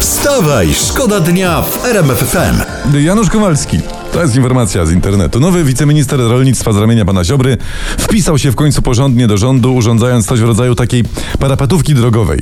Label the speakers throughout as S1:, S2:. S1: Wstawaj, szkoda dnia w RMF FM.
S2: Janusz Kowalski. To jest informacja z internetu. Nowy wiceminister rolnictwa z ramienia pana Ziobry wpisał się w końcu porządnie do rządu, urządzając coś w rodzaju takiej parapatówki drogowej.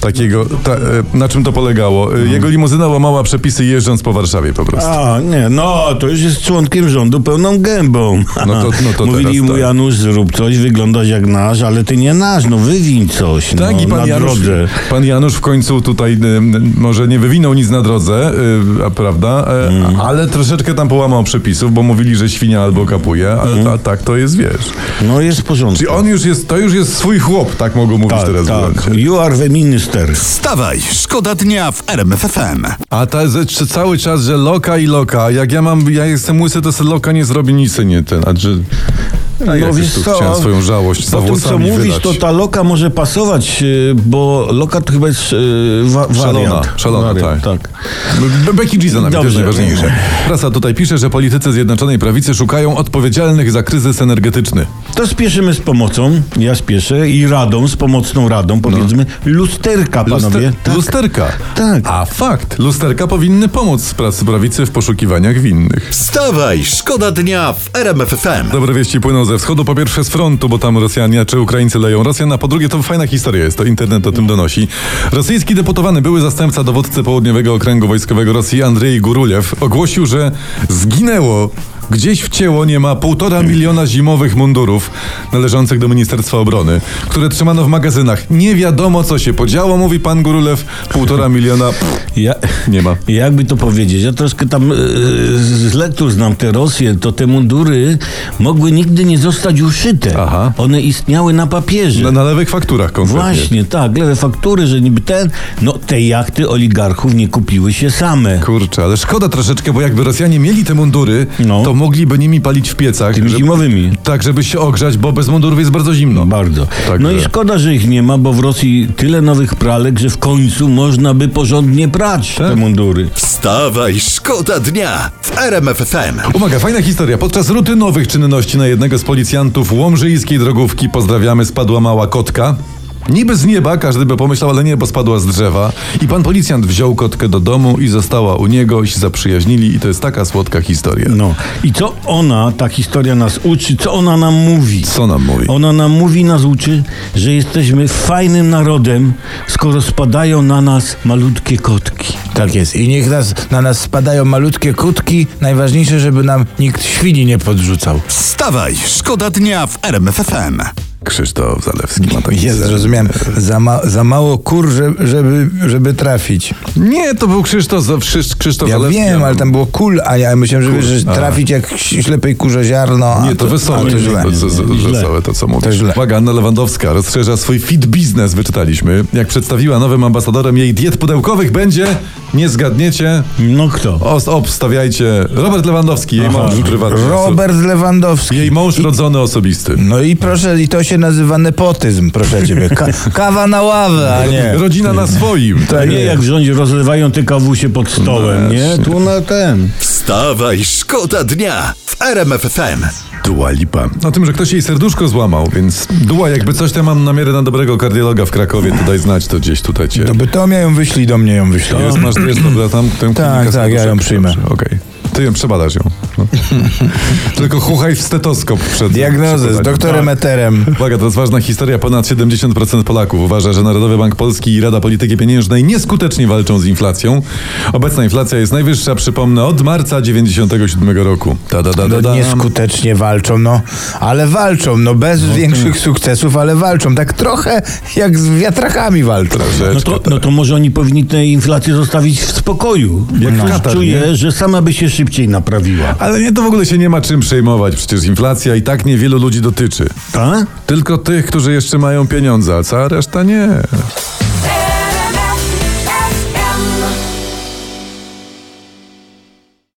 S2: Takiego, ta, e, na czym to polegało? E, Jego limuzyna łamała przepisy jeżdżąc po Warszawie po prostu.
S3: A, nie, no, to już jest członkiem rządu pełną gębą.
S2: No to- no to
S3: Mówili
S2: teraz
S3: mu,
S2: tak.
S3: Janusz, zrób coś, wyglądasz jak nasz, ale ty nie nasz, no wywiń coś,
S2: Tak,
S3: no,
S2: i pan
S3: na
S2: Janusz,
S3: drodze.
S2: pan Janusz w końcu tutaj y, m, może nie wywinął nic na drodze, y, a prawda, y,
S3: Mhm.
S2: ale troszeczkę tam połamał przepisów, bo mówili, że świnia albo kapuje, ale
S3: Mhm.
S2: ta, tak to jest, wiesz.
S3: No jest w porządku.
S2: Czyli on już jest, to już jest swój chłop, tak mogą mówić
S3: Tak,
S2: teraz. w
S3: tak,
S2: Irlandii.
S3: you are the minister.
S1: Wstawaj, szkoda dnia w RMF FM.
S2: A ta, ze- czy cały czas, że loka i loka, jak ja mam, ja jestem łysy, to se loka nie zrobi nic, nie ten, a czy... A ja
S3: No wiesz
S2: też tu
S3: co,
S2: chciałem swoją żałość za
S3: Po tym, co
S2: włosami
S3: mówisz,
S2: wylać.
S3: to tak- ta loka może pasować, y, bo loka to chyba jest y, wa- wariant.
S2: szalona,
S3: Wariant,
S2: tak. Be- Becky G za nami,
S3: Dobrze.
S2: też najważniejsze. Prasa tutaj pisze, że politycy Zjednoczonej Prawicy szukają odpowiedzialnych za kryzys energetyczny.
S3: To spieszymy z pomocą, ja spieszę i radą, z pomocną radą, powiedzmy, lusterka,
S2: No. Luster-
S3: panowie. Tak.
S2: Lusterka.
S3: Tak.
S2: A fakt, lusterka powinny pomóc pracy prawicy w poszukiwaniach winnych.
S1: Wstawaj, szkoda dnia w RMF FM.
S2: Dobre wieści płyną ze wschodu, po pierwsze z frontu, bo tam Rosjanie czy Ukraińcy leją Rosjan, a po drugie to fajna historia jest, to internet o tym donosi. Rosyjski deputowany, były zastępca dowódcy Południowego Okręgu Wojskowego Rosji Andrzej Gurulew ogłosił, że zginęło, gdzieś w ciało nie ma półtora miliona zimowych mundurów należących do Ministerstwa Obrony, które trzymano w magazynach. Nie wiadomo co się podziało, mówi pan Gurulew, półtora miliona pff,
S3: Ja,
S2: nie ma.
S3: jakby to powiedzieć, ja troszkę tam e, z lektur znam te Rosję, to te mundury mogły nigdy nie zostać uszyte.
S2: Aha. No,
S3: One istniały na papierze.
S2: Na, na lewych fakturach konkretnie.
S3: Właśnie, tak, lewe faktury, że niby ten, no te jachty oligarchów nie kupiły się same.
S2: Kurczę, ale szkoda troszeczkę, bo jakby Rosjanie mieli te mundury,
S3: No.
S2: to mogliby nimi palić w piecach.
S3: Tymi
S2: żeby-
S3: zimowymi.
S2: Tak, żeby się ogrzać, bo bez mundurów jest bardzo zimno.
S3: Bardzo.
S2: Także-
S3: No i szkoda, że ich nie ma, bo w Rosji tyle nowych pralek, że w końcu można by porządnie prać
S2: Tak.
S3: te mundury.
S1: Wstawaj, szkoda dnia w RMF FM.
S2: Umaga, fajna historia. Podczas rutynowych czynności na jednego z policjantów łomżyjskiej drogówki, pozdrawiamy, spadła mała kotka. Niby z nieba, każdy by pomyślał, ale nie, bo spadła z drzewa. I pan policjant wziął kotkę do domu i została u niego i się zaprzyjaźnili i to jest taka słodka historia.
S3: No i co ona, ta historia nas uczy, co ona nam mówi?
S2: Co nam mówi?
S3: Ona nam mówi, nas uczy, że jesteśmy fajnym narodem, skoro spadają na nas malutkie kotki.
S4: Tak jest. I niech nas, na nas spadają malutkie kutki. Najważniejsze, żeby nam nikt świni nie podrzucał.
S1: Wstawaj, szkoda dnia w RMF FM.
S2: Krzysztof Zalewski ma taki
S4: Jest,
S2: sen.
S4: zrozumiałem. Za, ma, za mało kur, że- żeby, żeby trafić.
S2: Nie, to był Krzysztof, Za- Krzysz- Krzysztof
S4: Ja
S2: Zalewski.
S4: wiem, ale tam było kul, a ja myślałem, że,
S2: Kur,
S4: wiesz, że
S2: a.
S4: trafić jak ślepej kurze ziarno. a
S2: Nie, to
S4: a
S2: wesołe.
S4: To
S2: To,
S4: źle.
S2: to, to,
S3: źle.
S2: wesołe to, co mówisz.
S4: źle.
S2: Uwaga, Anna Lewandowska rozszerza swój fit biznes, wyczytaliśmy. Jak przedstawiła nowym ambasadorem jej diet pudełkowych będzie, nie zgadniecie,
S3: No kto?
S2: os, obstawiajcie, Robert Lewandowski, jej mąż prywatny.
S4: Robert Lewandowski.
S2: Jej mąż rodzony osobisty.
S4: No i proszę, i to się nazywa nepotyzm, proszę ciebie. Ka- kawa na ławę, a nie.
S2: Rodzina na swoim.
S3: A
S4: Tak
S3: nie jak w rządzie rozlewają te kawusie pod stołem, nie? Tu na ten.
S1: Wstawaj, szkoda dnia w RMF FM.
S2: Dua Lipa. O tym, że ktoś jej serduszko złamał, więc Dua, jakby coś, to ja mam namiarę na dobrego kardiologa w Krakowie, tutaj znać, to gdzieś tutaj cię...
S4: Do Bytomia ją wyślij, do mnie ją wyślij.
S2: Jest, masz, jest dobra, tam tę
S4: Tak, tak, ja ją przyjmę.
S2: Dobrze, Okej. Ty ją przebadasz ją. No. Tylko chuchaj w stetoskop przed.
S4: Diagnozę z
S2: przed badaniem.
S4: doktorem Eterem.
S2: Uwaga, to jest ważna historia. Ponad 70% Polaków uważa, że Narodowy Bank Polski i Rada Polityki Pieniężnej nieskutecznie walczą z inflacją. Obecna inflacja jest najwyższa, przypomnę, od marca 97 roku. Ta, da, da, da,
S4: No,
S2: da.
S4: nieskutecznie walczą, no, ale walczą, no bez większych sukcesów, ale walczą. Tak trochę jak z wiatrakami walczą.
S3: No
S2: Troszeczkę,
S3: to,
S2: tak.
S3: no to może oni powinni tę inflację zostawić w spokoju. Jak
S2: No.
S3: ktoś
S2: Katar,
S3: czuje,
S2: nie?
S3: że sama by się szybciej naprawiła.
S2: Ale nie, to w ogóle się nie ma czym przejmować. Przecież inflacja i tak niewielu ludzi dotyczy.
S3: Tak?
S2: Tylko tych, którzy jeszcze mają pieniądze, a cała reszta nie.